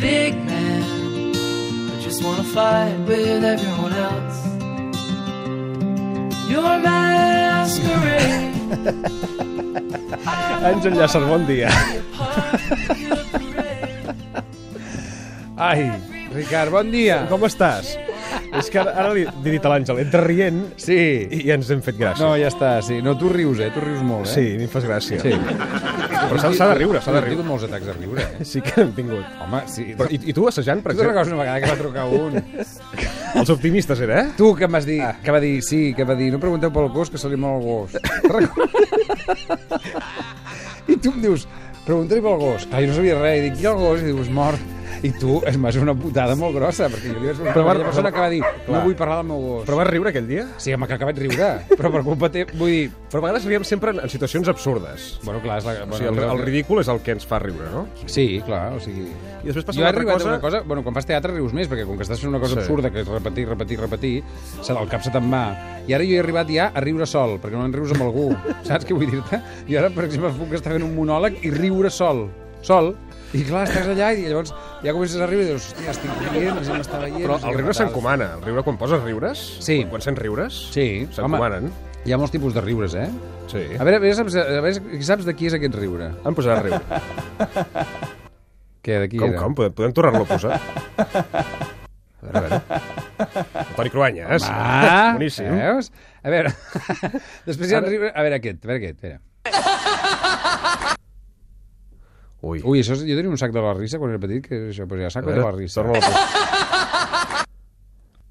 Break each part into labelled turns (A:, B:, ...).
A: big man. I just wanna fight with everyone else. Your masquerade.
B: Àngel Llàcer, bon dia. Ai,
C: Ricard, bon dia.
B: com estàs? És que ara, ara li he dit a l'Àngel, entra rient
C: Sí.
B: i ja ens hem fet gràcia.
C: No, ja està, sí. No, tu rius, eh? Tu rius molt, eh?
B: Sí, a mi em fas gràcia.
C: Sí.
B: Però s'ha s'ha de riure, s'ha de
C: He
B: riure.
C: tingut molts atacs de riure, eh?
B: Sí que hem tingut.
C: Home, sí.
B: Però, i, I tu assajant, per
C: Tu te'n
B: exemple?
C: recordes una vegada que va trucar un?
B: Els optimistes era, eh?
C: Tu, que em vas dir, que va dir, sí, que va dir, no pregunteu pel gos, que se li mor el gos. Te'n recordes? I tu em dius, pregunta-li pel gos. Clar, jo no sabia res. I dic, i el gos? I diu, és mort. I tu, és més, una putada molt grossa, perquè jo li vaig preguntar
B: Però
C: a
B: va-
C: aquella persona que va dir,
B: Clar.
C: no vull parlar del meu gos.
B: Però vas riure aquell dia?
C: Sí, home, que acabat riure, però per culpa teva, vull dir...
B: Però a vegades riem sempre en, en situacions absurdes.
C: Bueno, clar, és la... Bueno,
B: O sigui, el, el ridícul és el que ens fa riure, no?
C: Sí, clar, o sigui...
B: I després passa
C: Jo he
B: una altra
C: arribat
B: cosa...
C: a una cosa... Bueno, quan fas teatre rius més, perquè com que estàs fent una cosa
B: Sí.
C: sí. absurda, que és repetir, repetir, repetir, se, el cap se te'n va. I ara jo he arribat ja a riure sol, perquè no en rius amb algú. Saps què vull dir-te? I ara, per exemple, puc estar fent un monòleg i riure sol. Sol. I clar, estàs allà i llavors ja comences a riure i dius, hòstia, estic rient, la gent m'està veient...
B: Però
C: no sé
B: el
C: què
B: riure
C: tal".
B: s'encomana. El riure, quan poses riures,
C: Sí.
B: quan, quan sents riures,
C: Sí,
B: s'encomanen.
C: Hi ha molts tipus de riures, eh?
B: Sí.
C: A veure, a veure, saps, a veure, saps de qui és aquest riure?
B: Em posarà a riure.
C: Què, de qui
B: Com,
C: era?
B: com? Podem, podem tornar-lo a posar? A veure, a veure. El Toni Cruanya, eh?
C: Ah,
B: Boníssim.
C: Veus? A veure, després hi ha... Ara... A veure aquest, a veure aquest, espera.
B: Ui.
C: Ui, això és... jo tenia un sac de la risa quan era petit, que és això, pues ja, saco de la risa.
B: Torna-lo a posar.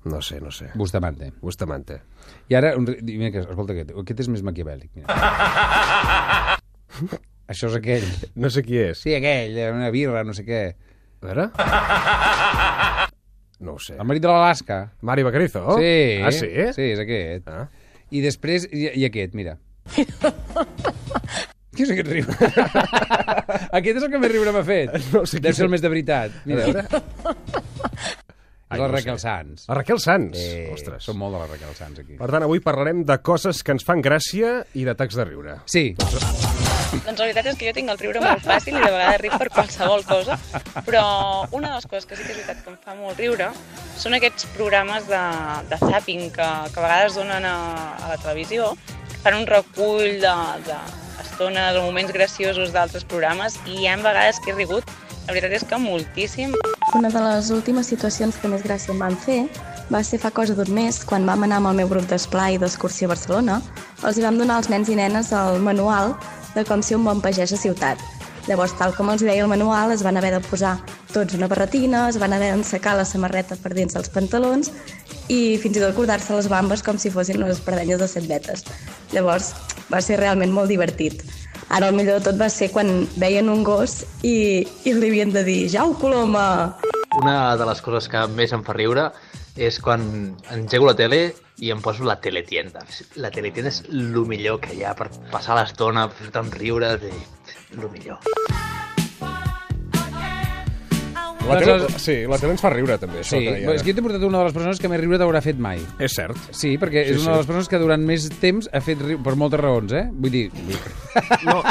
B: No sé, no sé.
C: Bustamante.
B: Bustamante.
C: I ara, un... ri- mira, que, escolta aquest, aquest és més maquiavèlic. Mira. això és aquell.
B: No sé qui és.
C: Sí, aquell, eh, una birra, no sé què.
B: A veure... No ho sé.
C: El marit de l'Alaska.
B: Mari Bacarizo?
C: Sí.
B: Ah, sí?
C: Sí, és aquest.
B: Ah.
C: I després, i, i aquest, mira. Què és aquest riure? aquest és el que més riure m'ha fet.
B: No sé qui
C: Deu
B: és.
C: ser el més de veritat.
B: A
C: Mira,
B: veure...
C: és
B: no
C: la
B: ho
C: Raquel
B: sé.
C: Sanz.
B: La Raquel Sanz.
C: Eh,
B: Ostres. Ah.
C: Som molt de la Raquel Sanz, aquí.
B: Per tant, avui parlarem de coses que ens fan gràcia i d'atacs de riure.
C: Sí,
D: Doncs la veritat és que jo tinc el riure molt fàcil i de vegades ric per qualsevol cosa, però una de les coses que sí que és veritat que em fa molt riure són aquests programes de, de zapping que, que a vegades donen a, a la televisió, que fan un recull de, de estones o moments graciosos d'altres programes i hi ha vegades que he rigut, la veritat és que moltíssim,
E: Una de les últimes situacions que més gràcia em van fer va ser fa cosa d'un mes, quan vam anar amb el meu grup d'esplai d'excursió a Barcelona, els hi vam donar als nens i nenes el manual de com ser un bon pagès a ciutat. Llavors, tal com els deia el manual, es van haver de posar tots una barretina, es van haver d'ensecar la samarreta per dins dels pantalons i fins i tot cordar-se les bambes com si fossin unes espardenyes de set vetes. Llavors, va ser realment molt divertit. Ara el millor de tot va ser quan veien un gos i, i li havien de dir «Jau, Coloma!»
F: Una de les coses que més em fa riure és quan engego la tele i em poso la teletienda. La teletienda és el millor que hi ha per passar l'estona, per fer-te un riure, el millor.
B: La
C: Doncs
B: tele,
C: els-
B: sí, la tele ens fa riure, també. Això
C: sí.
B: que deia.
C: És que jo t'he portat una de les persones que més riure t'haurà fet mai.
B: És cert.
C: Sí, perquè
B: Sí,
C: és
B: sí.
C: una de les persones que durant més temps ha fet riure, per moltes raons, eh? Vull dir...
G: No,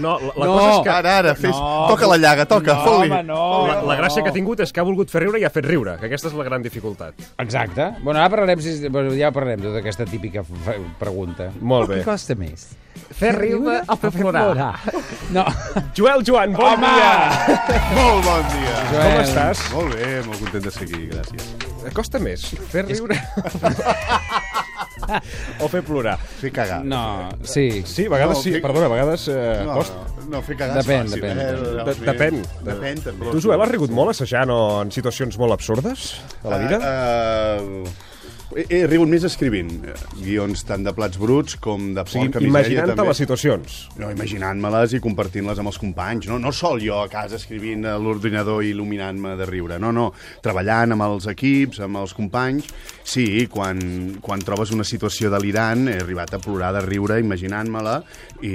B: No, la, la
C: No.
B: cosa és que...
G: ara, ara, fes...
C: No.
G: toca la llaga, toca,
C: No,
G: fot-li.
C: home, no.
B: Oh, La, la gràcia que ha tingut és que ha volgut fer riure i ha fet riure, que aquesta és la gran dificultat.
C: Exacte. Bueno, ara parlarem, si, bueno, ja parlarem tota aquesta típica f- pregunta.
B: Molt bé.
C: Què costa més? Fer riure o fer plorar? No.
B: Joel Joan, bon
C: Home!
B: dia!
G: Molt bon dia.
B: Com estàs?
G: Molt bé, molt content de ser aquí, gràcies.
B: Costa més fer riure o fer plorar.
G: Fer cagar.
C: No, sí.
B: Sí, a vegades
G: No,
B: sí,
G: que-
B: perdona, a vegades eh,
G: no,
B: costa.
G: no, no, fer cagar és
C: Depèn,
G: fàcil.
C: depèn,
G: eh?
C: depèn.
G: No,
B: De-
G: fer-
B: depèn.
G: Depèn, també.
B: Tu, Joel, has rigut molt assajant o en situacions molt absurdes de la
C: Eh,
B: vida?
G: Eh,
H: Uh, he, he rigut més escrivint eh, guions tant de plats bruts com de
B: O
H: porca
B: sigui,
H: misèria.
B: imaginant-te
H: també.
B: les situacions.
H: No, imaginant-me-les i compartint-les amb els companys. No, no sol jo a casa escrivint a l'ordinador i il·luminant-me de riure. No, no. Treballant amb els equips, amb els companys. Sí, quan, quan trobes una situació delirant, he arribat a plorar de riure imaginant-me-la i...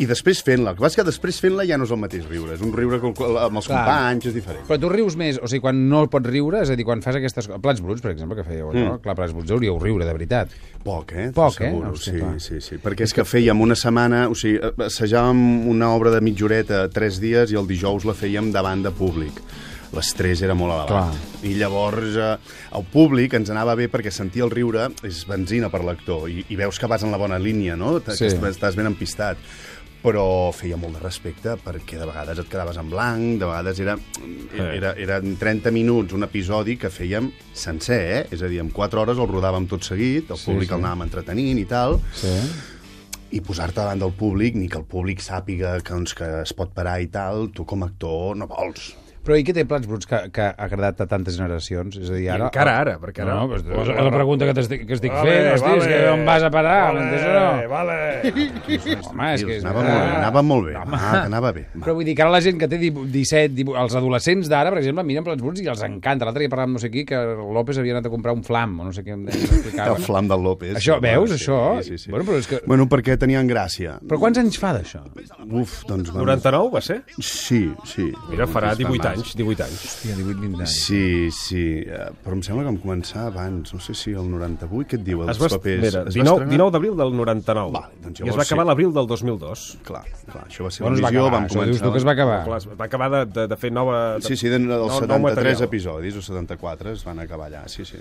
H: i després fent-la. El que passa és que després fent-la ja no és el mateix riure. És un riure col- col- amb els
C: Clar.
H: companys, és diferent.
C: Però tu rius més, o sigui, quan no pots riure, és a dir, quan fas aquestes coses... Plats bruts, per exemple, que fèieu allò, mm. clar, plats bruts hauríeu riure, de veritat.
H: Poc, eh?
C: Poc, eh?
H: T'asseguro,
C: Hòstia,
H: sí,
C: clar.
H: sí, sí. Perquè és que fèiem una setmana... O sigui, eh, assajàvem una obra de mitjoreta tres dies i el dijous la fèiem davant de públic. L'estrès era molt elevat. Clar. I llavors eh, el públic ens anava bé perquè sentir el riure és benzina per l'actor i, i veus que vas en la bona línia, no? T-
C: Sí.
H: Que estàs- estàs ben empistat. Però feia molt de respecte perquè de vegades et quedaves en blanc, de vegades era, era, eren 30 minuts un episodi que fèiem sencer, eh? És a dir, en 4 hores el rodàvem tot seguit, el públic
C: sí.
H: el anàvem entretenint i tal,
C: Sí.
H: i posar-te davant del públic, ni que el públic sàpiga que, doncs, que es pot parar i tal, tu com a actor no vols.
C: Però i què té plats bruts que, que ha agradat a tantes generacions? És a dir,
B: I
C: ara...
B: encara ara, perquè ara-
C: No, no, però és la pregunta que, t'estic- que estic fent, hosti, és que on vas a parar, m'entens o no?
B: vale.
C: Home, és que... És
H: Anava
C: que-
H: molt bé, anava molt bé. Ah, que anava bé.
C: Però vull dir que ara la gent que té 17, 18, els adolescents d'ara, per exemple, miren plats bruts i els encanta. L'altre dia parlàvem no sé qui que López havia anat a comprar un flam, o no sé què em deia,
H: El
C: explicava.
H: flam del López.
C: Això, veus,
H: Sí,
C: això?
H: Sí, sí, sí.
C: Bueno, però és que-
H: Bueno, perquè tenien gràcia.
C: Però quants anys fa d'això?
H: Uf, doncs... vam-
B: 99 va ser?
H: Sí, sí.
B: Mira, farà
H: Fa
B: 18
H: massa.
B: anys, 18 anys.
C: Hòstia, 18, 20 anys.
H: Sí, sí, eh, però em sembla que vam començar abans, no sé si el 98, què et diu, els
B: Es va, est-
H: papers?
B: mira,
H: Es va
B: 19,
H: estrenar-
B: 19 d'abril del 99.
H: Vale, doncs
B: I es va
H: llavors
B: acabar
H: sí.
B: a l'abril del 2002.
H: Clar, clar, això va ser
C: Bueno,
H: bueno,
C: es va
H: una visió,
C: acabar,
H: vam
C: això dius
H: començar...
C: tu que es va acabar.
B: Clar, es va acabar de, de, de fer nova... De,
H: Sí, sí, de- dels
B: nou- nou
H: 73
B: material.
H: episodis o 74 es van acabar allà, sí, sí.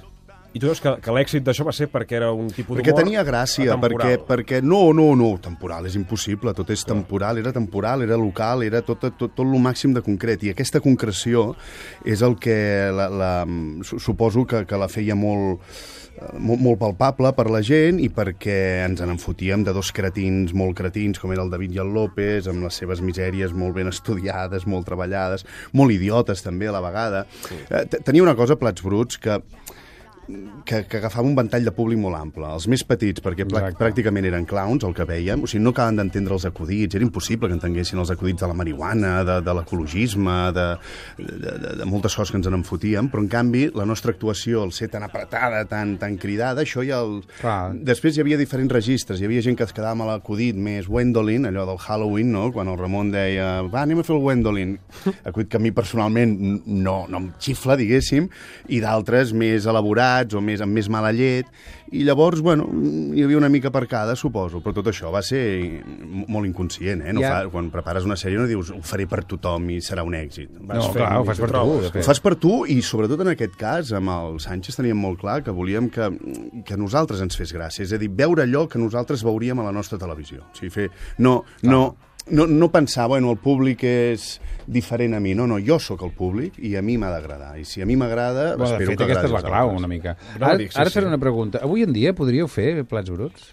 B: I tu veus que, que l'èxit d'això va ser perquè era un tipus d'humor...
H: Perquè tenia gràcia, perquè,
B: atemporal.
H: perquè no, no, no, temporal, és impossible, tot és temporal, era temporal, era local, era tot, tot, tot el màxim de concret, i aquesta concreció és el que la, la, su- suposo que, que la feia molt, eh, molt, molt palpable per la gent i perquè ens en enfotíem de dos cretins molt cretins, com era el David i el López, amb les seves misèries molt ben estudiades, molt treballades, molt idiotes també a la vegada. Sí. Tenia una cosa, Plats Bruts, que que, que agafava un ventall de públic molt ample. Els més petits, perquè plà,
C: Exacte.
H: pràcticament eren clowns, el que veiem, o sigui, no acaben d'entendre els acudits, era impossible que entenguessin els acudits de la marihuana, de, de l'ecologisme, de, de, de, de moltes coses que ens en fotíem, però en canvi la nostra actuació, el ser tan apretada, tan, tan cridada, això ja el...
C: Clar.
H: Després hi havia diferents registres, hi havia gent que es quedava amb l'acudit més Wendolin, allò del Halloween, no? quan el Ramon deia, va, anem a fer el Wendolin, acudit que a mi personalment n- no, no em xifla, diguéssim, i d'altres més elaborats o més amb més mala llet, i llavors, bueno, hi havia una mica per cada, suposo, però tot això va ser m- molt inconscient, eh? No
C: Ja.
H: fa, quan prepares una sèrie no dius, ho faré per tothom i serà un èxit. Vas
C: No,
H: fent
C: clar, ho
H: i
C: fas per tu.
B: trobes,
C: de
H: ho
C: fet.
H: fas per tu i sobretot en aquest cas amb el Sánchez teníem molt clar que volíem que, que a nosaltres ens fes gràcia, és a dir, veure allò que nosaltres veuríem a la nostra televisió. O sigui, fer, no, no, no, no pensar, bueno, el públic és diferent a mi. No, no, jo sóc el públic i a mi m'ha d'agradar. I si a mi m'agrada,
C: Bueno, de
H: espero
C: fet,
H: que
C: aquesta és
H: agradi
C: la
H: als
C: clau,
H: altres.
C: una mica.
B: No,
C: Ara,
B: dic, sí,
C: ara et faré
B: sí.
C: una pregunta. Avui en dia podríeu fer plats bruts?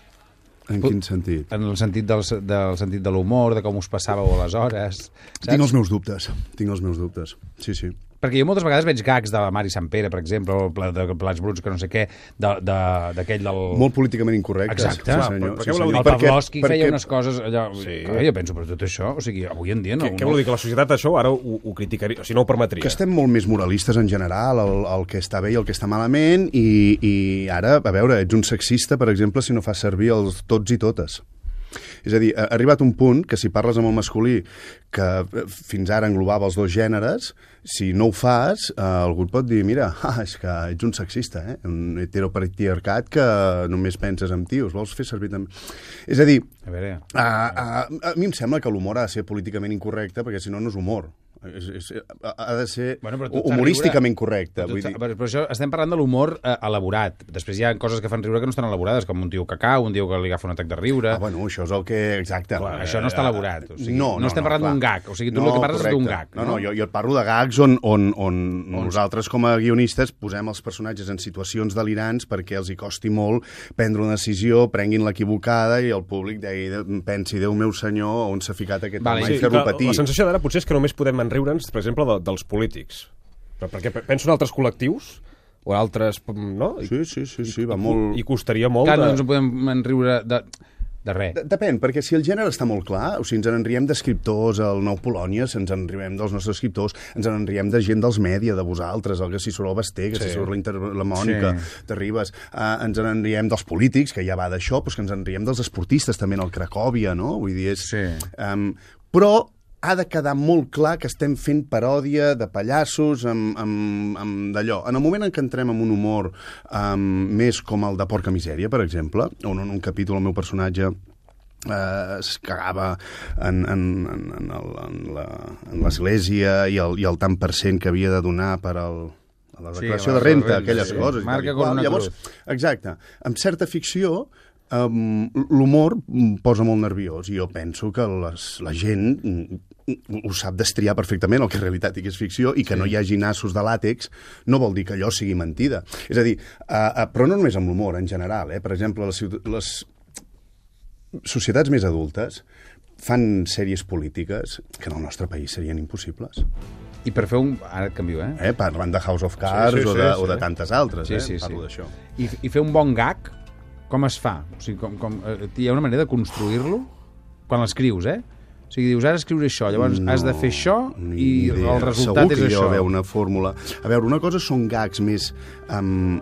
H: En quin sentit?
C: En el sentit del, del sentit de l'humor, de com us passàveu aleshores, saps?
H: Tinc els meus dubtes, tinc els meus dubtes. Sí, sí.
C: Perquè jo moltes vegades veig gags de la Mari Sant Pere, per exemple, o pla- de plats bruts, que no sé què, de- de- d'aquell de, del...
H: Molt políticament incorrectes.
C: Oh. Exacte.
H: Sí,
C: Clar,
H: senyor.
B: però
H: sí,
B: què voleu
H: senyor.
B: dir?
C: El
H: Perquè-
C: Pavlovsky perquè... feia
H: perquè-
C: unes coses allò... Sí.
B: Sí.
C: Jo penso per tot això, o sigui, avui en dia no...
B: Què, què
C: no...
B: vol dir? Que la societat això ara ho, ho criticaria, o sigui, no ho permetria.
H: Que estem molt més moralistes en general, el, el que està bé i el que està malament, i, i ara, a veure, ets un sexista, per exemple, si no fas servir els tots i totes. És a dir, ha ha arribat un punt que si parles amb el masculí que eh, fins ara englobava els dos gèneres, si no ho fas, eh, algú et pot dir, mira, ah, és que ets un sexista, eh? un heteropatriarcat que només penses en tios, vols fer servir també... És a dir,
C: A veure...
H: a, Ah, a, a mi em sembla que l'humor ha de ser políticament incorrecte, perquè si no, no és humor. És, és, ha ha de ser
C: Bueno,
H: bueno,
C: però tot fa
H: humorísticament
C: riure.
H: correcte.
C: Tot
H: Vull
C: fa-
H: dir,
C: Però, però això, estem parlant de l'humor eh, elaborat. Després hi ha coses que fan riure que no estan elaborades, com un tio que cau, un tio que li agafa un atac de riure...
H: ah, bueno, això és el que... Exacte. Eh,
C: Clar, això no està elaborat, o sigui,
H: no,
C: no
H: no
C: estem parlant
H: clar.
C: d'un gag, o sigui, tu el que parles és d'un gag,
H: No,
C: no?
H: no, jo, jo et parlo de gags on, on, on, nosaltres com a guionistes posem els personatges en situacions delirants perquè els hi costi molt prendre una decisió, prenguin l'equivocada i el públic degui, pensi, Déu meu senyor, on s'ha ficat aquest
C: Vale,
H: vale, home
C: sí,
H: i fer-lo
B: clar,
H: patir.
B: La sensació d'ara potser és que només podem enriure'ns, per exemple, de, dels polítics. Però perquè pe- penso en altres col·lectius, o en altres... mm, No? I,
H: Sí, sí, sí, sí, va molt...
B: I costaria molt...
C: Clar, no
B: de-
C: ens en podem en riure de... De res.
H: De- Depèn, perquè si el gènere està molt clar, o sigui, ens n'enriem d'escriptors al Nou Polònia, ens n'enriem dels nostres escriptors, ens n'enriem de gent dels mèdia, de vosaltres, el que si surt el Basté, que
C: Sí.
H: sí. si surt la, Inter- la Mònica,
C: Sí.
H: sí. t'arribes, uh, ens n'enriem dels polítics, que ja va d'això, però és que ens n'enriem dels esportistes també en el Cracòvia, no? Vull dir, és...
C: Sí.
H: Um, però ha de quedar molt clar que estem fent paròdia de pallassos amb, amb, amb d'allò. En el moment en què entrem en un humor um, més com el de Porca Misèria, per exemple, on en un capítol el meu personatge eh, es cagava en, en, en, en el- en la- en l'església i, el, i el tant per cent que havia de donar per al a la
C: Sí,
H: declaració
C: la
H: de renta,
C: renta,
H: aquelles
C: sí.
H: coses. i tal
C: Marca
H: i qual.
C: con una
H: Llavors, exacte, amb certa ficció um, l'humor em posa molt nerviós i jo penso que les, la gent mm, ho sap destriar perfectament el que en realitat i que és ficció i que sí. no hi hagi nassos de làtex no vol dir que allò sigui mentida. És a dir, uh, uh, però no només amb l'humor, en general. Eh? Per exemple, les, ciuta- les, societats més adultes fan sèries polítiques que en el nostre país serien impossibles.
C: I per fer un... Ara et canvio, eh?
H: Eh? Parlant de House of Cards
G: Sí, sí,
H: o,
G: sí,
H: de,
G: sí.
H: o de tantes altres.
C: Sí,
H: eh?
C: sí, sí.
H: Parlo d'això.
C: I, I fer un bon gag, com es fa? O sigui, com, com, eh, hi ha una manera de construir-lo quan l'escrius, eh? O sigui, dius, ara escriuré això, llavors no, has de fer això
H: ni
C: i
H: idea.
C: el resultat
H: Segur
C: és
H: que hi
C: això.
H: haver una fórmula. A veure, una cosa són gags més... Um,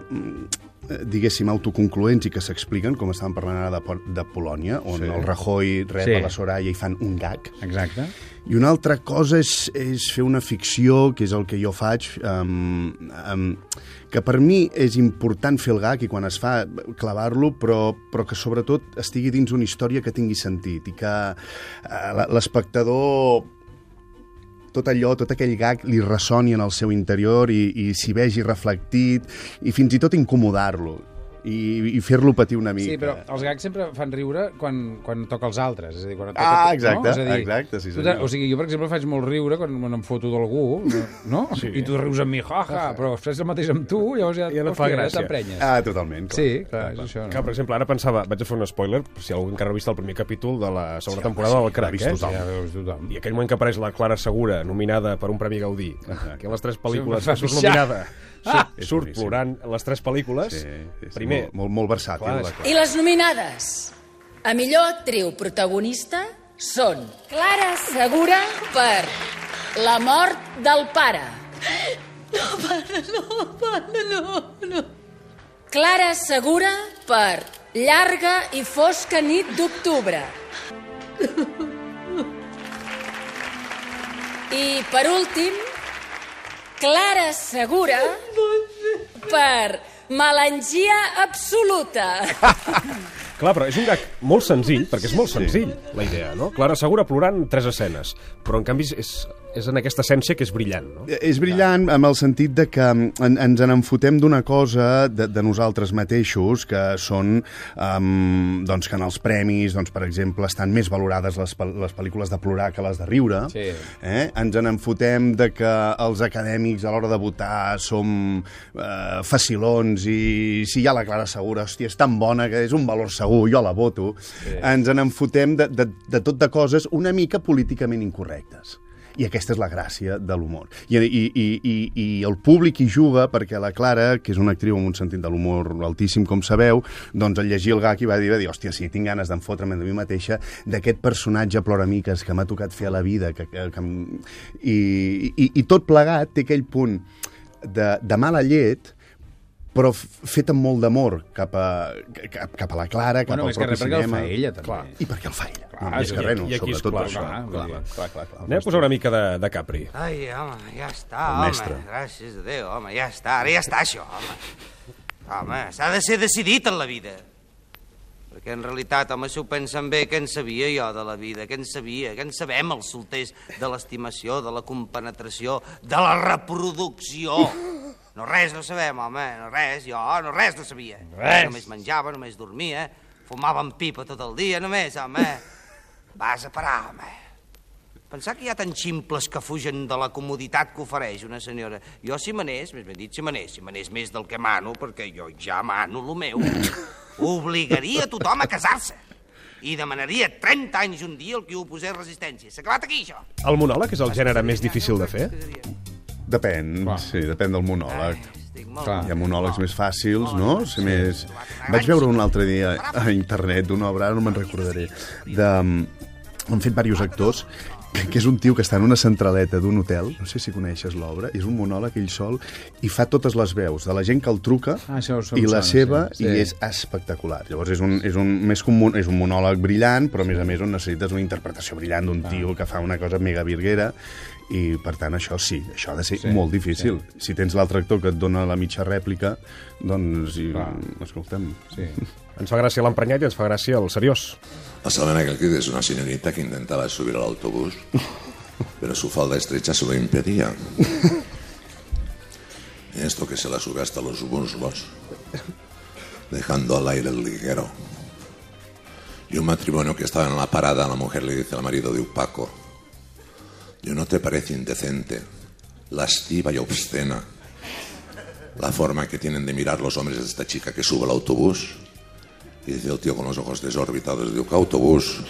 H: diguéssim, autoconcloents i que s'expliquen, com estàvem parlant ara de, Pol- de Polònia, on
C: Sí.
H: sí. el Rajoy rep
C: Sí.
H: sí. a la Soraya i fan un gag.
C: Exacte.
H: I una altra cosa és, és fer una ficció, que és el que jo faig, um, um, que per mi és important fer el gag i quan es fa clavar-lo, però, però que sobretot estigui dins una història que tingui sentit i que eh, la- l'espectador tot allò, tot aquell gag li ressoni en el seu interior i, i s'hi vegi reflectit i fins i tot incomodar-lo i, i fer-lo patir una mica.
C: Sí, però els gags sempre fan riure quan, quan toca els altres. És a dir, quan et toca,
H: Ah,
C: tu,
H: exacte,
C: no? És a dir,
H: exacte, sí,
C: tu te-
H: senyor.
C: O sigui, jo, per exemple, faig molt riure quan me em foto d'algú, no? Sí. I tu rius amb mi, ja, ja, però després el mateix amb tu, llavors ja,
B: Ja no fa
C: hòstia,
B: gràcia.
C: t'emprenyes.
H: Ah, totalment. Clar.
C: sí, clar, és això.
B: Clar,
C: No?
B: per exemple, ara pensava, vaig a fer un spoiler, si algú encara no ha vist el primer capítol de la segona sí, temporada del Crac,
H: vist
B: eh?
H: tothom.
C: Ja veus tothom.
B: I aquell moment que apareix la Clara Segura, nominada per un Premi Gaudí, que en les tres pel·lícules
C: Sí, em fa
B: surt
C: pixar.
B: nominada,
C: Ah!
B: surt, surt
H: boníssim.
B: plorant en les tres pel·lícules,
H: Sí, sí, sí,
B: primer...
H: Molt, molt, molt versàtil.
B: Clar,
H: la
B: és-
H: Clara.
I: I les nominades a millor actriu protagonista són Clara Segura per La mort del pare. No, pare, no, pare, no, no. Clara Segura per Llarga i fosca nit d'octubre. I per últim, Clara Segura per Melangia absoluta.
B: Clar, però és un gag molt senzill, perquè és molt senzill, la idea, no? Clara Segura plorant en tres escenes, però en canvi és, és en aquesta essència que és brillant, no?
H: Eh, És brillant amb el sentit de que mm, en, ens en enfotem d'una cosa de, de nosaltres mateixos, que són um, doncs que en els premis, doncs, per exemple, estan més valorades les, pel- les pel·lícules de plorar que les de riure.
C: Sí.
H: Eh? Ens en enfotem de que els acadèmics a l'hora de votar som eh, facilons i si hi ha la Clara Segura, hòstia, és tan bona que és un valor segur, jo la voto. Sí. Ens en enfotem de, de, de tot de coses una mica políticament incorrectes. I aquesta és la gràcia de l'humor. I, i, i, i, I el públic hi juga perquè la Clara, que és una actriu amb un sentit de l'humor altíssim, com sabeu, doncs al llegir el gag hi va dir, va dir hòstia, sí, tinc ganes d'enfotre'm de mi mateixa d'aquest personatge ploramiques que m'ha tocat fer a la vida. Que, que, que... em- I, i, I tot plegat té aquell punt de, de mala llet però f- fet amb molt d'amor cap, a, cap, cap a la Clara, cap
C: Bueno,
H: al
C: més que
H: propi
C: res, perquè el
H: cinema.
C: fa ella, també.
B: Clar.
H: I perquè el fa ella.
B: i
H: Clar, no, més que
B: aquí-
H: res, no,
B: i aquí és
H: sobretot per
B: clar,
H: això.
B: clar,
H: clar,
C: vull dir.
H: clar, clar, clar.
B: Anem a posar una mica de, de Capri.
A: Ai, home, ja està,
H: El
A: home.
H: mestre.
A: Gràcies a Déu, home, ja està. Ara ja està, això, home. Home, s'ha de ser decidit en la vida. Perquè en realitat, home, si ho pensen bé, què en sabia jo de la vida? Què en sabia? Què en sabem els solters de l'estimació, de la compenetració, de la reproducció? No res no sabem, home, no res, jo no res no sabia. Res. Només menjava, només dormia, fumava amb pipa tot el dia, només, home. Vas a parar, home. Pensar que hi ha tan ximples que fugen de la comoditat que ofereix una senyora. Jo si manés, més ben dit, si manés, si manés més del que mano, perquè jo ja mano lo meu, obligaria a tothom a casar-se. I demanaria 30 anys i un dia el que ho posés resistència. S'ha acabat aquí, això.
B: El monòleg és el gènere més difícil de fer?
H: Depèn, sí, depèn del monòleg.
A: Estic molt
C: Clar.
A: Clar.
H: Hi ha
C: Ah.
H: monòlegs més fàcils, no? Ser més... Vaig veure un altre dia a internet d'una obra, ara no me'n recordaré, de... mm, Han fet diversos actors, que que és un tio que està en una centraleta d'un hotel, no sé si coneixes l'obra, és un monòleg ell sol, i fa totes les veus, de la gent que el truca
C: Ah, això us-
H: i
C: em sona,
H: la seva,
C: sí,
H: i
C: sí.
H: és espectacular. Llavors és un, és un, més que un, mon- és un monòleg brillant, però a més a més on necessites una interpretació brillant d'un tio que fa una cosa mega virguera, i per tant això sí, això ha de ser
C: Sí,
H: sí, molt difícil. Sí. Si tens l'altre actor que et dona la mitja rèplica, doncs, i,
C: Clar.
H: escolta'm...
C: Sí.
B: Ens fa gràcia l'emprenyat i ens fa gràcia el seriós.
J: La salena que actriz es una señorita que intentaba subir al autobús, pero su falda estrecha se lo impedía. Y esto que se la sube hasta los muslos, dejando al aire el liguero. Y un matrimonio que estaba en la parada, la mujer le dice al marido de Upaco, yo no te parece indecente, lastiva y obscena la forma que tienen de mirar los hombres de esta chica que sube al autobús. Y dice el tío con los ojos desorbitados, digo, ¿qué autobús?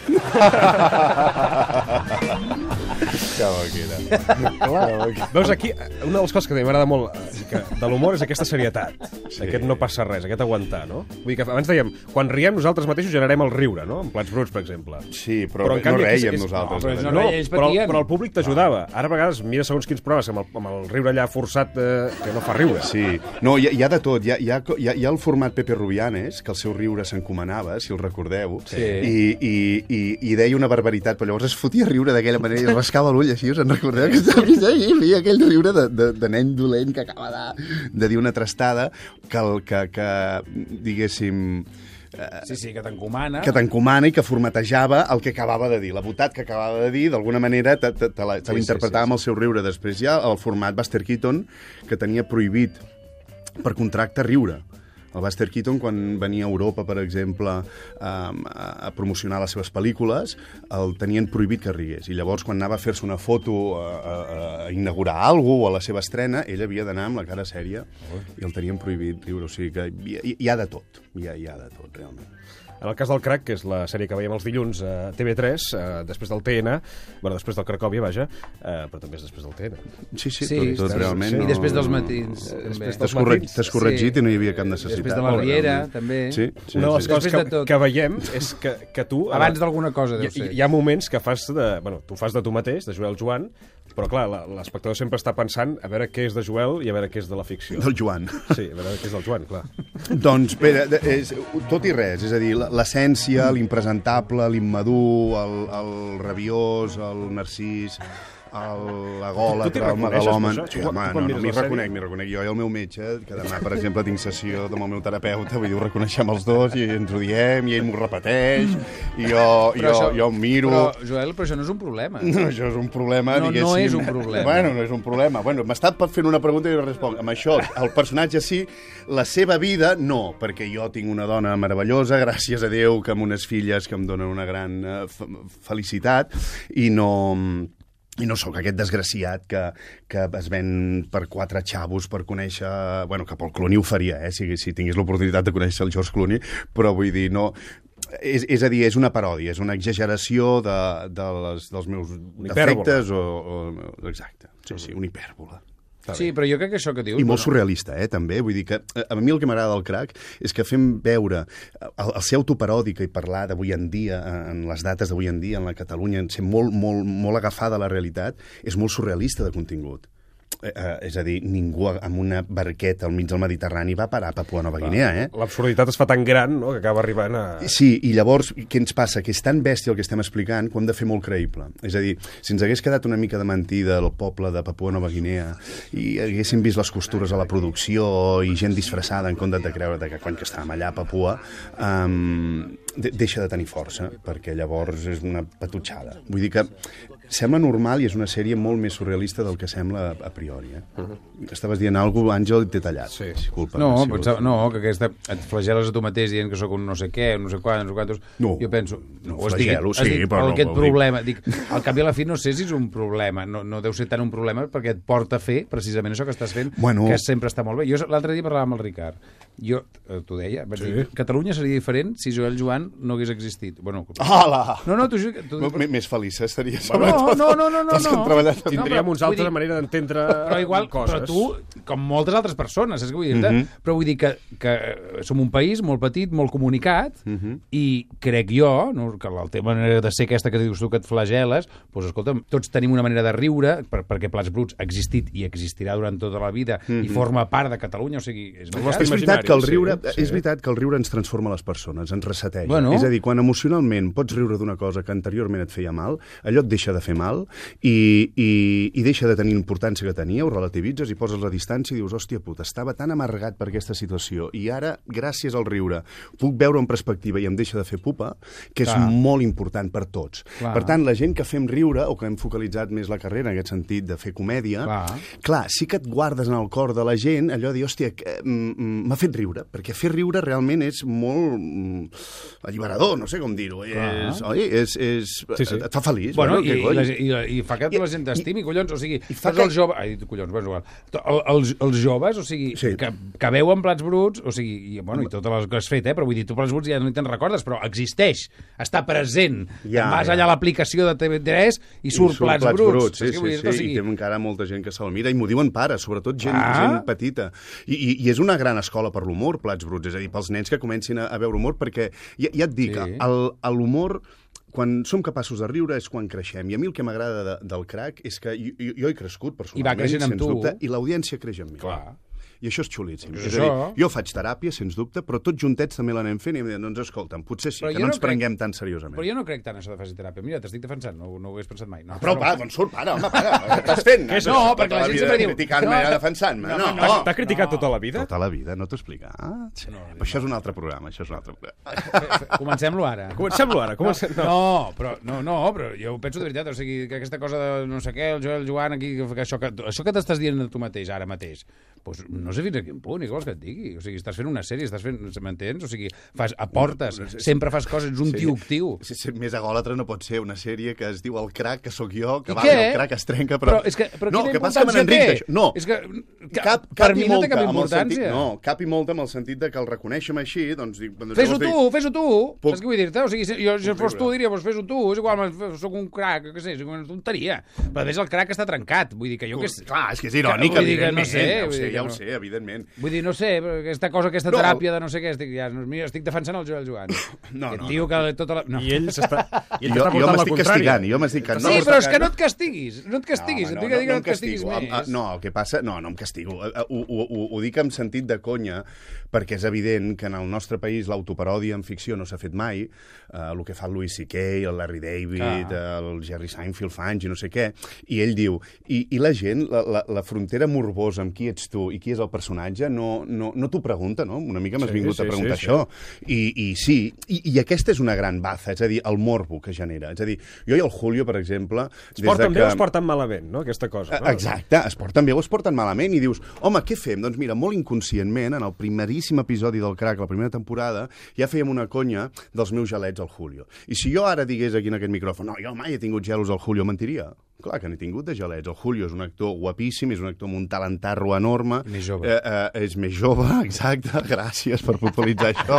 B: Veus, aquí, eh, una de les coses que a mi m'agrada molt eh, que de l'humor és aquesta serietat. Sí. Aquest no passa res, aquest aguantar, no? Vull dir que abans dèiem, quan riem nosaltres mateixos generem el riure, no? En plats bruts, per exemple.
H: Sí, però
B: en
H: no
B: aquí
H: rèiem nosaltres, eh?
B: No, però,
C: no
B: no,
C: reia, ells
B: però,
C: patien.
B: però el públic t'ajudava. Ara a vegades mira segons quins programes amb el, amb el riure allà forçat eh, que no fa riure.
H: Sí, no, hi ha, hi ha de tot. Hi ha, hi, ha, co- hi, ha, hi ha el format Pepe Rubianes, que el seu riure s'encomanava, si el recordeu,
C: Sí.
H: i, i, i, i deia una barbaritat, però llavors es fotia a riure d'aquella manera i es rascava l'ull, així us en recordeu? Que sí, feia aquell riure de, de, de nen dolent que acaba de, de dir una trastada, que, el, que, que diguéssim,
C: Sí, sí, que t'encomana.
H: que t'encomana i que formatejava el que acabava de dir. La botat que acabava de dir, d'alguna manera, te, te, te la- te
C: Sí, sí,
H: l'interpretava
C: sí,
H: amb el seu riure. Després hi ha el format Buster Keaton, que tenia prohibit per contracte riure. El Buster Keaton, quan venia a Europa, per exemple, a, a promocionar les seves pel·lícules, el tenien prohibit que rigués. I llavors, quan anava a fer-se una foto, a, a, a inaugurar alguna o a la seva estrena, ell havia d'anar amb la cara sèria i el tenien prohibit riure. O sigui que hi, hi, hi ha de tot. Hi ha, hi ha de tot, realment.
B: En el cas del Crac, que és la sèrie que veiem els dilluns a TV3, eh, després del TN, bueno, després del Cracòvia, vaja, eh, però també és després del TN.
H: Sí, sí,
C: Sí,
H: sí tot, tot
C: sí,
H: realment...
C: sí.
H: No...
C: I després dels matins, eh, també.
B: Després
H: T'has
B: dels
H: corre...
B: matins.
H: t'has corregit
C: Sí.
H: sí. i no hi havia cap necessitat.
C: Després de la Riera, també.
H: Sí, sí,
B: Una de les
H: sí.
B: coses
C: Després
B: que,
C: de tot.
B: que veiem és que, que tu...
C: Abans d'alguna cosa,
B: Hi,
C: deu ser.
B: hi ha moments que fas de... Bueno, tu fas de tu mateix, de Joel Joan, però clar, la- l'espectador sempre està pensant a veure què és de Joel i a veure què és de la ficció.
H: Del Joan.
B: Sí, a veure què és del Joan, clar.
H: doncs, Pere, de- és, tot i res, és a dir, la- l'essència, l'impresentable, l'immadur, el, el rabiós, el narcís, el, la gola,
B: Tu t'hi
H: el
B: reconeixes,
H: megalomen...
B: per això? Tu
H: Sí,
B: quan-
H: home,
B: tu quan
H: no, no,
B: mires
H: m'hi
B: la sèrie?
H: reconec, m'hi reconec. Jo i el meu metge, que demà, per exemple, tinc sessió amb el meu terapeuta, vull dir, ho reconeixem els dos i ens ho diem, i ell m'ho repeteix, i jo, jo,
C: Però això-
H: jo em miro...
C: Però, Joel, però això no és un problema.
H: No, això és un problema,
C: No, no
H: diguéssim.
C: és un problema.
H: Bueno, no és un problema. Bueno, m'està fent una pregunta i jo responc. Amb això, el personatge sí, la seva vida no, perquè jo tinc una dona meravellosa, gràcies a Déu, que amb unes filles que em donen una gran eh, fe felicitat, i no i no sóc aquest desgraciat que, que es ven per quatre xavos per conèixer... Bueno, que Paul Clooney ho faria, eh, si, si tingués l'oportunitat de conèixer el George Clooney, però vull dir, no... És, és a dir, és una paròdia, és una exageració de, de les, dels meus
B: hipèrbola.
H: defectes o, o... Exacte, sí, sí, una hipèrbola.
C: Sí, però jo crec que això que dius...
H: I molt
C: bueno,
H: surrealista, eh, també. Vull dir que eh, a mi el que m'agrada del crack és que fem veure eh, el, el ser autoparòdica i parlar d'avui en dia, eh, en les dates d'avui en dia, en la Catalunya, en ser molt, molt, molt agafada a la realitat, és molt surrealista de contingut. Eh, eh, és a dir, ningú a- amb una barqueta al mig del Mediterrani va parar a Papua Nova Guinea, eh?
B: L'absurditat es fa tan gran, no?, que acaba arribant a...
H: Sí, i llavors què ens passa? Que és tan bèstia el que estem explicant que ho hem de fer molt creïble. És a dir, si ens hagués quedat una mica de mentida el poble de Papua Nova Guinea i haguéssim vist les costures a la producció i gent disfressada en comptes de creure que quan que estàvem allà a Papua um, deixa de tenir força, perquè llavors és una patutxada. Vull dir que sembla normal i és una sèrie molt més surrealista del que sembla a priori. Eh? Estaves dient alguna cosa, Àngel, i t'he tallat. Sí. Disculpa.
C: No,
H: vols.
C: pensava, no, que aquesta, et flageles a tu mateix dient que sóc un no sé què, un no sé quant, no sé quantos...
H: No.
C: jo penso, no,
H: No,
C: has dit,
H: flagelo,
C: has
H: sí,
C: dit
H: però
C: el,
H: no,
C: aquest
H: ho dic.
C: problema. Dic, al cap i a la fi no sé si és un problema, no, no deu ser tant un problema perquè et porta a fer precisament això que estàs fent,
H: Bueno.
C: que sempre està molt bé. Jo l'altre dia parlava amb el Ricard, jo eh, t'ho deia, vaig sí. dir, Catalunya seria diferent si Joel Joan Roldán no hagués existit. Bueno,
H: Ah! Hola!
C: No, no, t'ho juro. que- t'ho-
H: M- Més feliç eh, estaria,
C: No,
H: sobretot.
C: no, no, no, no.
H: Els que han
C: no.
H: treballat...
C: No, però
B: Tindríem uns
C: vull
B: altra
C: dir-
B: manera d'entendre
C: però igual,
B: coses.
C: però tu, com moltes altres persones, saps què vull dir? Mm -hmm. Però vull dir que, que som un país molt petit, molt comunicat, mm -hmm. i crec jo, no, que el tema de ser aquesta que dius tu que et flageles, doncs escolta'm, tots tenim una manera de riure, per, perquè Plats Bruts ha existit i existirà durant tota la vida, mm -hmm. i forma part de Catalunya, o sigui, és veritat.
B: nostre
H: És veritat, que el
B: imaginari,
H: riure,
B: sí, sí.
H: és veritat que el riure ens transforma les persones, ens reseteja.
C: Bueno.
H: És a dir, quan emocionalment pots riure d'una cosa que anteriorment et feia mal, allò et deixa de fer mal i, i, i deixa de tenir importància que tenia, ho relativitzes i poses la distància i dius, hòstia puta, estava tan amargat per aquesta situació i ara, gràcies al riure, puc veure en perspectiva i em deixa de fer pupa, que és
C: Clar.
H: molt important per tots.
C: Clar.
H: Per tant, la gent que fem riure o que hem focalitzat més la carrera en aquest sentit de fer comèdia,
C: Clar.
H: clar, sí que et guardes en el cor de la gent allò de dir, hòstia, que, mm, mm, m'ha fet riure, perquè fer riure realment és molt mm, alliberador, no sé com dir-ho.
C: Clar.
H: És, oi? És, és,
B: Sí, sí.
H: Et fa feliç.
C: Bueno,
H: què
C: i, i,
H: coi?
C: la, i, la, i fa que la gent t'estimi, collons, o sigui,
H: i fa
C: tots
H: que-
C: els joves... Ai, collons, bueno, igual. To- el- Els, els joves, o sigui, sí.
H: Sí.
C: que, que veuen plats bruts, o sigui, i, bueno, i totes les que has fet, eh? però vull dir, tu plats bruts ja no te'n recordes, però existeix, està present. Ja,
H: Ja,
C: Vas
H: ja.
C: allà a l'aplicació de TV3 i surt, plats, bruts. saps
H: sí, sí,
C: què vull dir?
H: sí,
C: O sigui,
H: i té encara molta gent que se'l mira, i m'ho diuen pares, sobretot gent,
C: Ah.
H: gent petita. I, i, I és una gran escola per l'humor, Plats Bruts, és a dir, pels nens que comencin a, a veure humor, perquè ja, ja et dic,
C: Sí.
H: sí. el, el l'humor quan som capaços de riure és quan creixem. I a mi el que m'agrada de, del crac és que jo, jo, jo he crescut personalment,
C: creixent amb
H: sens
C: tu.
H: dubte, i l'audiència creix amb mi.
C: Clar.
H: I això és xulíssim.
C: Doncs
H: És
C: això-
H: a dir, jo faig teràpia, sens dubte, però tots juntets també l'anem fent i em diuen, doncs escolta'm, potser sí,
C: Però
H: que
C: jo
H: no,
C: no
H: ens
C: crec-
H: prenguem tan seriosament.
C: Però jo no crec tant això de faci teràpia. Mira, t'estic defensant, no, no ho hagués pensat mai. No,
H: Però va, doncs surt, para, home, para. Què estàs fent?
C: Què és- no, perquè la
H: Tota
C: gent
H: vida
C: sempre diu-
H: Criticant-me
C: No,
H: i defensant-me. No, no,
B: T'ha t'ha criticat tota la vida?
H: Tota la vida, no t'ho explica. Ah, sí. no, no, això és un altre programa, això és un altre programa.
C: Comencem-lo ara.
B: Comencem-lo ara. Comencem...
C: No, però, no, no, però jo ho penso de veritat, o sigui, que aquesta cosa de no sé què, el Joel, el Joan, aquí, que això que, això que t'estàs dient a tu mateix, ara mateix, doncs no sé fins a quin punt, és vols que et digui, o sigui, estàs fent una sèrie, estàs fent, m'entens? O sigui, fas, aportes, sempre fas coses, ets un sí. tio actiu.
H: Si ser més agòlatre no pot ser una sèrie que es diu El crac, que sóc jo, que
C: I
H: va,
C: què?
H: el crac es trenca, però...
C: és que, però
H: no,
C: quina
H: que passa que me
C: importància
H: n'enric
C: té?
H: d'això. No,
C: És que, que
H: cap, cap
C: per
H: i
C: mi no té
H: molta,
C: cap
H: amb el sentit-
C: importància.
H: No, cap i molta amb el sentit de que el reconeixem així, doncs... Dic, doncs
C: Fes-ho
H: llavors
C: tu,
H: dic,
C: fes-ho tu.
H: Puc-
C: Saps què vull dir-te? O sigui, si, jo, si
H: Puc
C: fos tu,
H: riure.
C: diria, doncs fes-ho tu. És igual, mas- sóc un crac, que sé, sóc una tonteria. Però a més el crac està trencat. Vull dir que jo... Que...
H: Clar, "Ah, és que és irònic,
C: Vull dir que
H: evidentment.
C: no sé,
H: ja ho
C: vull
H: sé,
C: dir que
H: ja
C: no.
H: ho sé, evidentment.
C: Vull dir, no sé, però aquesta cosa, aquesta
H: No.
C: teràpia de no sé què, estic, ja, no, mira, estic defensant el Joel Joan.
H: No,
C: que et
H: no,
C: diu que tota la... No.
B: I ell s'està... I ell t'està
H: Jo, jo
B: portant la
H: m'estic
B: contrària.
H: castigant, jo m'estic
C: Sí,
H: castigant.
C: però és que no et castiguis, no et castiguis,
H: home,
C: et dic que digui que no et castiguis
H: castigo.
C: més.
H: Am- ah, No, el que passa... No, no em castigo. Eh, eh, Ho, ho, ho, ho dic amb sentit de conya, perquè és evident que en el nostre país l'autoparòdia en ficció no s'ha fet mai. Uh, el que fa el Louis C.K., el Larry David,
C: Clar.
H: el Jerry Seinfeld fa anys i no sé què. I ell diu... I, i la gent, la, la, la frontera morbosa amb qui ets tu i qui és el personatge, no, no, no t'ho pregunta, no? Una mica m'has
B: Sí,
H: vingut
B: sí,
H: a preguntar
B: sí, sí.
H: això. I, i sí, i, i aquesta és una gran baza, és a dir, el morbo que genera. És a dir, jo i el Julio, per exemple...
B: Es porten bé o es porten malament, no?, aquesta cosa. No?
H: Eh, Exacte, es porten bé o es porten malament i dius, home, què fem? Doncs mira, molt inconscientment, en el primeríssim episodi del Crac, la primera temporada, ja fèiem una conya dels meus gelets al Julio. I si jo ara digués aquí en aquest micròfon, no, jo mai he tingut gelos al Julio, mentiria. Clar que n'he tingut de gelets. El Julio és un actor guapíssim, és un actor amb un talentarro enorme.
C: I més jove.
H: Eh, eh, és més jove, exacte, gràcies per puntualitzar això.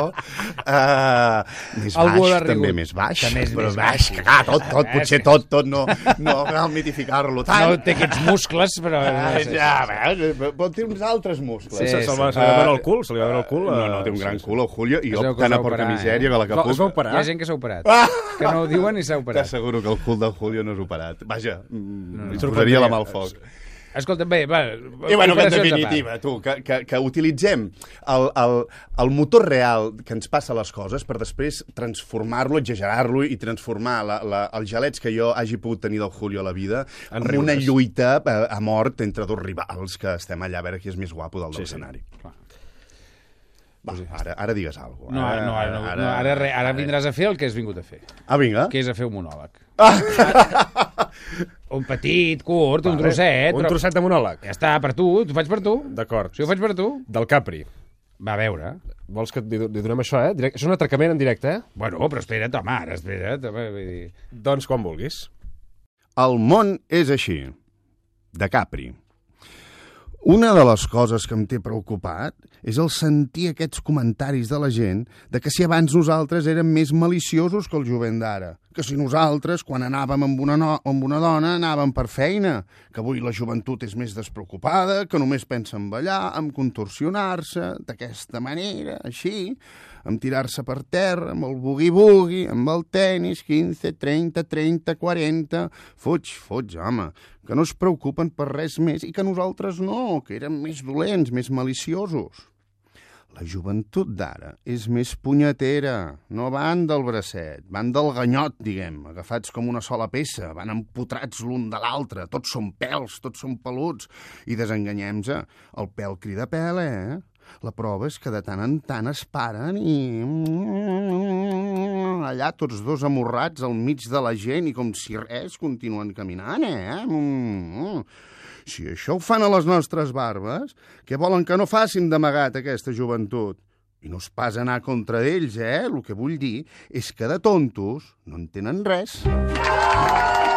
H: Eh, més
C: Algú
H: baix,
C: ha rigut.
H: també més baix.
C: També és
H: però
C: més
H: baix,
C: baix.
H: clar, tot, tot,
C: És
H: potser
C: que-
H: tot, tot, no, no cal mitificar-lo tant.
C: No té aquests muscles, però...
H: Ah,
C: no sé.
H: ja, veus? Però té uns altres muscles.
C: Sí,
B: Se, se,
C: sí.
B: li va- se li va veure el cul, se li va veure el cul.
H: No,
B: eh,
H: no, té un
B: sí,
H: gran
B: sí.
H: cul, el Julio, i
C: Es veu
H: jo
C: que
H: tan
C: es
H: a
C: va
H: porca
C: operar,
H: misèria
C: eh?
H: que la que
B: Es va- es va
H: puc...
B: operar.
C: Hi ha gent que s'ha operat.
H: Ah!
C: Que no ho diuen i s'ha operat.
H: T'asseguro que el cul del Julio no és operat. Vaja, no,
C: no.
H: no. li posaria la mà al foc.
C: Escolta, bé, va...
H: I bueno, que
C: operacions a
H: en
C: part.
H: definitiva, tu, que, que, que utilitzem el, el, el motor real que ens passa a les coses per després transformar-lo, exagerar-lo i transformar la, la, els gelets que jo hagi pogut tenir del Julio a la vida
B: En
H: en, en
B: riures.
H: una lluita a, a mort entre dos rivals que estem allà a veure qui és més guapo del sí, l'escenari. Sí. Va, ara, ara digues alguna cosa. eh?
B: Eh,
C: No, ara, no, ara, no, ara, no, ara, re, ara vindràs a fer el que has vingut a fer,
H: Ah, vinga.
C: que és a fer un monòleg. un petit, curt, un trosset...
B: Ah. Un trosset de monòleg.
C: Ja està, per tu, t'ho faig per tu.
B: D'acord.
C: Si ho faig per tu,
B: Del Capri.
C: va a veure.
B: Vols que li, li donem això, eh? Direct... És un atracament en directe, eh?
C: Bueno, però espera't, home, ara, espera't. Home, vull dir...
B: Doncs quan vulguis.
H: El món és així. De Capri. Una de les coses que em té preocupat és el sentir aquests comentaris de la gent de que si abans nosaltres érem més maliciosos que el jovent d'ara, que si nosaltres, quan anàvem amb una, no amb una dona, anàvem per feina, que avui la joventut és més despreocupada, que només pensa en ballar, en contorsionar-se d'aquesta manera, així, en tirar-se per terra, amb el bugui-bugui, amb el tennis, 15, 30, 30, 40... Fuig, fuig, home, que no es preocupen per res més i que nosaltres no, que érem més dolents, més maliciosos. La joventut d'ara és més punyetera, no van del bracet, van del ganyot, diguem, agafats com una sola peça, van empotrats l'un de l'altre, tots són pèls, tots són peluts, i desenganyem-se, el pèl crida pèl, eh? La prova és que de tant en tant es paren i... Allà tots dos amorrats al mig de la gent i com si res continuen caminant, eh? Mm. Si això ho fan a les nostres barbes, què volen que no facin d'amagat aquesta joventut? I no es pas anar contra ells, eh? El que vull dir és que de tontos no en tenen res.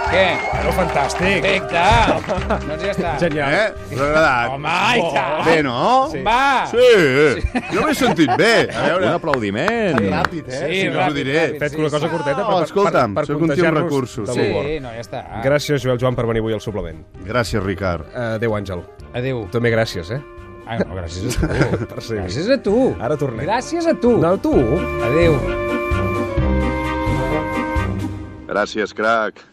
C: Què?
B: Bueno, fantàstic.
C: Perfecte! doncs ja està.
B: Genial.
H: Eh? Us ha agradat?
C: Home, i
B: Oh,
C: tant!
H: Bé, no?
C: Sí. Va!
G: Sí, jo m'he sentit bé. A veure, un aplaudiment.
H: Ràpid, eh?
C: Sí,
H: si no us ho
C: ràpid,
H: diré.
C: ràpid.
B: Fet una cosa curteta
H: Oh, escolta'm, sóc un tio amb
B: contagiar-nos
H: recursos.
B: de
H: Sí.
B: l'humor.
C: Sí, no, ja està.
B: Gràcies, Joel Joan, per venir avui al suplement.
H: Gràcies, Ricard.
B: Uh, adéu, Àngel.
C: Adéu.
B: També gràcies, eh?
C: Ah, no, gràcies a tu.
B: Per ser
C: Gràcies a tu.
B: Ara tornem.
C: Gràcies a tu.
B: No, tu.
C: Adéu.
G: Gràcies, crac.